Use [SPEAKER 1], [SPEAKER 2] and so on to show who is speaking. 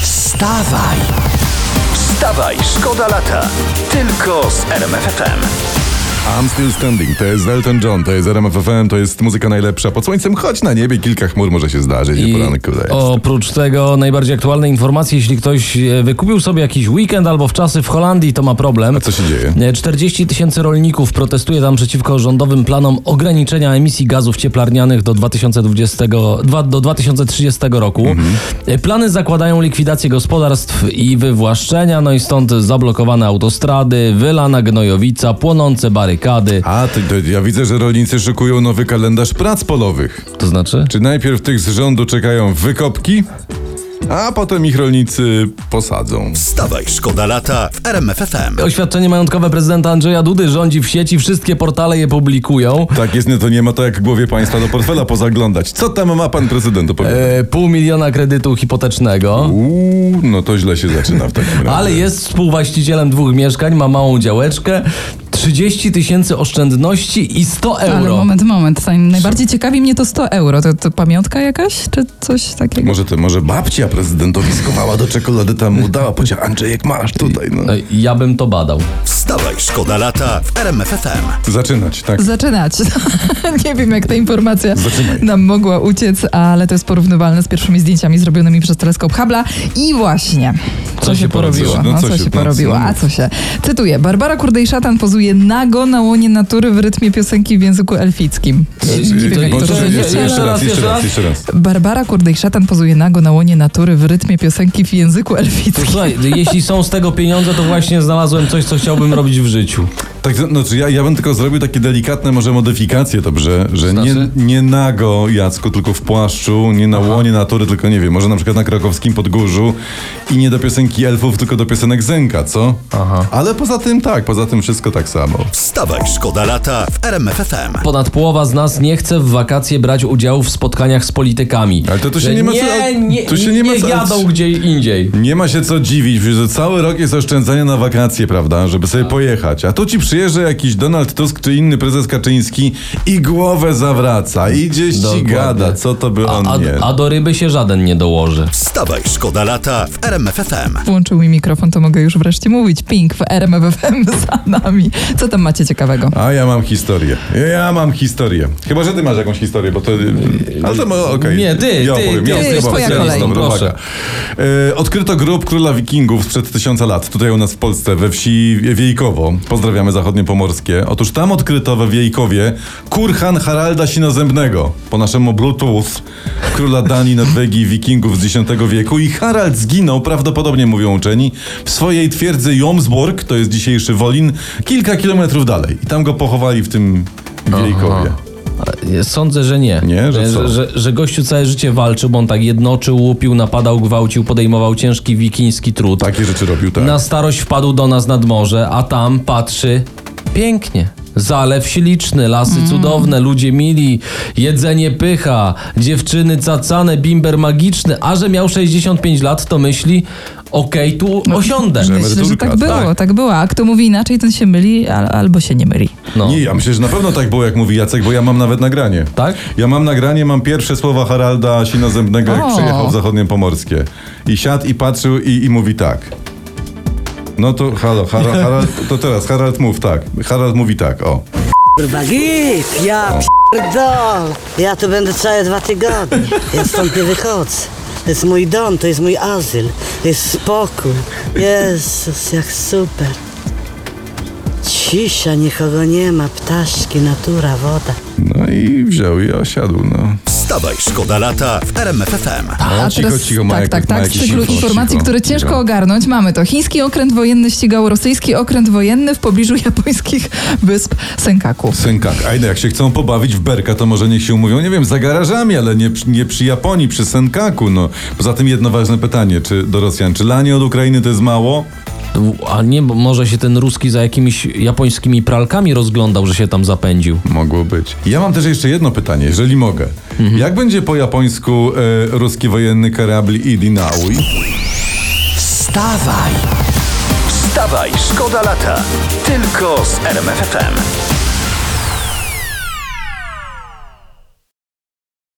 [SPEAKER 1] Wstawaj! Wstawaj, szkoda lata. Tylko z RMFFM.
[SPEAKER 2] I'm still standing, to jest Elton John, to jest RMFFM, to jest muzyka najlepsza pod słońcem, choć na niebie kilka chmur może się zdarzyć. I... Poranku, to jest.
[SPEAKER 3] oprócz tego najbardziej aktualne informacje, jeśli ktoś e, wykupił sobie jakiś weekend albo wczasy w Holandii, to ma problem.
[SPEAKER 2] A co się dzieje?
[SPEAKER 3] E, 40 tysięcy rolników protestuje tam przeciwko rządowym planom ograniczenia emisji gazów cieplarnianych do 2020, dwa- do 2030 roku.
[SPEAKER 2] Mhm.
[SPEAKER 3] E, Plany zakładają likwidację gospodarstw i wywłaszczenia, no i stąd zablokowane autostrady, wylana gnojowica, płonące barykady.
[SPEAKER 2] A, to, to ja widzę, że rolnicy szykują nowy kalendarz prac polowych.
[SPEAKER 3] To znaczy?
[SPEAKER 2] Czy najpierw tych z rządu czekają wykopki, a potem ich rolnicy posadzą.
[SPEAKER 1] Wstawaj, szkoda lata w RMFFM.
[SPEAKER 3] Oświadczenie majątkowe prezydenta Andrzeja Dudy rządzi w sieci, wszystkie portale je publikują.
[SPEAKER 2] Tak jest, nie to nie ma to jak głowie państwa do portfela pozaglądać. Co tam ma pan prezydent do powiedzenia?
[SPEAKER 3] E, pół miliona kredytu hipotecznego.
[SPEAKER 2] Uuu, no to źle się zaczyna w takim razie.
[SPEAKER 3] Ale jest współwłaścicielem dwóch mieszkań, ma małą działeczkę, 30 tysięcy oszczędności i 100
[SPEAKER 4] Ale
[SPEAKER 3] euro.
[SPEAKER 4] moment, moment. Zanim- Najbardziej ciekawi mnie to 100 euro. To, to pamiątka jakaś, czy coś takiego?
[SPEAKER 2] Może to, może babcia prezydentowi schowała do czekolady, tam mu dała, powiedziała, Andrzejek, masz tutaj, no.
[SPEAKER 3] No, Ja bym to badał.
[SPEAKER 1] Wstawaj, szkoda lata w RMFFM.
[SPEAKER 2] Zaczynać, tak.
[SPEAKER 4] Zaczynać. Nie wiem, jak ta informacja
[SPEAKER 2] Zaczynaj.
[SPEAKER 4] nam mogła uciec, ale to jest porównywalne z pierwszymi zdjęciami zrobionymi przez teleskop Hubble'a. I właśnie. Co,
[SPEAKER 3] się
[SPEAKER 2] porobiło?
[SPEAKER 4] No, co się, porobiło?
[SPEAKER 2] no,
[SPEAKER 4] A co się? Cytuję. Barbara Kurdej-Szatan pozuje nago na łonie natury w rytmie piosenki w języku elfickim. Nie wiem, jak
[SPEAKER 2] Bo-
[SPEAKER 4] to
[SPEAKER 2] jeszcze-
[SPEAKER 4] rozumiecie.
[SPEAKER 2] jeszcze- Jeszcze raz, jeszcze raz, jeszcze raz.
[SPEAKER 4] Barbara Kurdej-Szatan pozuje nago na łonie natury w rytmie piosenki w języku elfickim.
[SPEAKER 3] Słuchaj, jeśli są z tego pieniądze, to właśnie znalazłem coś, co chciałbym robić w życiu.
[SPEAKER 2] Tak, znaczy ja, ja bym tylko zrobił takie delikatne może modyfikacje, dobrze? Że
[SPEAKER 3] Znaczy?
[SPEAKER 2] nie, nie nago, Jacku, tylko w płaszczu, nie na łonie natury, tylko nie wiem, może na przykład na krakowskim podgórzu i nie do piosenki elfów, tylko do piosenek Zenka, co? Aha. Ale poza tym tak, poza tym wszystko tak samo.
[SPEAKER 1] Wstawaj, szkoda lata w RMFFM.
[SPEAKER 3] Ponad połowa z nas nie chce w wakacje brać udziału w spotkaniach z politykami.
[SPEAKER 2] Ale to tu się
[SPEAKER 3] Że
[SPEAKER 2] nie ma co-
[SPEAKER 3] nie, nie,
[SPEAKER 2] tu się nie ma
[SPEAKER 3] niech
[SPEAKER 2] co-
[SPEAKER 3] jadą gdzie indziej.
[SPEAKER 2] Nie ma się co dziwić, że cały rok jest oszczędzanie na wakacje, prawda? Żeby sobie pojechać. A tu ci przyjeżdża jakiś Donald Tusk czy inny prezes Kaczyński i głowę zawraca. Idzie
[SPEAKER 3] Dokładnie.
[SPEAKER 2] ścigada, co to by on
[SPEAKER 3] A,
[SPEAKER 2] No nie.
[SPEAKER 3] a, a do ryby się żaden nie dołoży.
[SPEAKER 1] Wstawaj, szkoda lata w RMFFM.
[SPEAKER 4] Włączył mi mikrofon, to mogę już wreszcie mówić. Pink w RMFFM za nami. Co tam macie ciekawego?
[SPEAKER 2] A ja mam historię. Ja mam historię. Chyba, że ty masz jakąś historię, bo to. Ale to mo- okej.
[SPEAKER 3] Nie, ty,
[SPEAKER 2] ja
[SPEAKER 3] ty,
[SPEAKER 2] opowiem,
[SPEAKER 3] ty,
[SPEAKER 2] ja opowiem,
[SPEAKER 4] ty,
[SPEAKER 2] ja
[SPEAKER 4] twoja
[SPEAKER 2] opowiem.
[SPEAKER 4] kolej.
[SPEAKER 2] Dobra,
[SPEAKER 3] Proszę.
[SPEAKER 2] uwaga. E, Odkryto grób króla wikingów sprzed tysiąca lat, tutaj u nas w Polsce, we wsi Wiejkowo. Pozdrawiamy zachodniopomorskie. Otóż tam odkryto we Wiejkowie kurhan Haralda Sinozębnego, po naszemu Brutus, króla Danii, Norwegii i wikingów z X wieku. I Harald zginął, prawdopodobnie mówią uczeni, w swojej twierdzy Jomsborg, to jest dzisiejszy Wolin, kilka kilometrów dalej. I tam go pochowali w tym Wiejkowie.
[SPEAKER 3] Sądzę, że nie.
[SPEAKER 2] Nie? Że co?
[SPEAKER 3] że, że, że gościu całe życie walczył, bo on tak jednoczył, łupił, napadał, gwałcił, podejmował ciężki wikiński trud.
[SPEAKER 2] Takie rzeczy robił, tak.
[SPEAKER 3] Na starość wpadł do nas nad morze, a tam patrzy pięknie. Zalew śliczny, lasy cudowne, ludzie mili, jedzenie pycha, dziewczyny cacane, bimber magiczny, a że miał 65 lat, to myśli, okej, tu osiądę.
[SPEAKER 4] Myślę, że
[SPEAKER 2] emeryturka,
[SPEAKER 4] tak było,
[SPEAKER 2] tak.
[SPEAKER 4] tak. było. A kto mówi inaczej, ten się myli al, albo się nie myli.
[SPEAKER 3] No.
[SPEAKER 2] Nie, ja myślę, że na pewno tak było, jak mówi Jacek, bo ja mam nawet nagranie.
[SPEAKER 3] Tak?
[SPEAKER 2] Ja mam nagranie, mam pierwsze słowa Haralda Sinozębnego, jak
[SPEAKER 4] O.
[SPEAKER 2] przyjechał w Zachodnie Pomorskie. I siadł i patrzył i, i mówi tak. No to halo, Har- Harald, to teraz Harald mów tak. Harald mówi tak, o.
[SPEAKER 5] Kurwa, git, ja pierdol. Ja tu będę całe dwa tygodnie. Ja stąd nie wychodzę. To jest mój dom, to jest mój azyl. To jest spokój. Jezus, jak super. Cisza, nikogo nie ma, ptaszki, natura, woda.
[SPEAKER 2] No i wziął i osiadł, no.
[SPEAKER 1] Wstawaj, szkoda lata w RMFFM.
[SPEAKER 2] A cicho, cicho, ma
[SPEAKER 4] tak,
[SPEAKER 2] jak-
[SPEAKER 4] tak,
[SPEAKER 2] ma
[SPEAKER 4] tak, z
[SPEAKER 2] jakieś
[SPEAKER 4] tych
[SPEAKER 2] info,
[SPEAKER 4] informacji,
[SPEAKER 2] cicho,
[SPEAKER 4] które
[SPEAKER 2] cicho.
[SPEAKER 4] ciężko ogarnąć, mamy to. Chiński okręt wojenny ścigał rosyjski okręt wojenny w pobliżu japońskich wysp Senkaku.
[SPEAKER 2] Synkak. A jak się chcą pobawić w berka, to może niech się umówią, nie wiem, za garażami, ale nie, przy- nie przy Japonii, przy Senkaku, no. Poza tym jedno ważne pytanie, czy do Rosjan, czy lanie od Ukrainy to jest mało?
[SPEAKER 3] A nie, bo może się ten ruski za jakimiś japońskimi pralkami rozglądał, że się tam zapędził.
[SPEAKER 2] Mogło być. Ja mam też jeszcze jedno pytanie, jeżeli mogę. Jak będzie po japońsku e, ruski wojenny karabl Idinaui?
[SPEAKER 1] Wstawaj!
[SPEAKER 6] Wstawaj, szkoda lata. Tylko z RMFFM.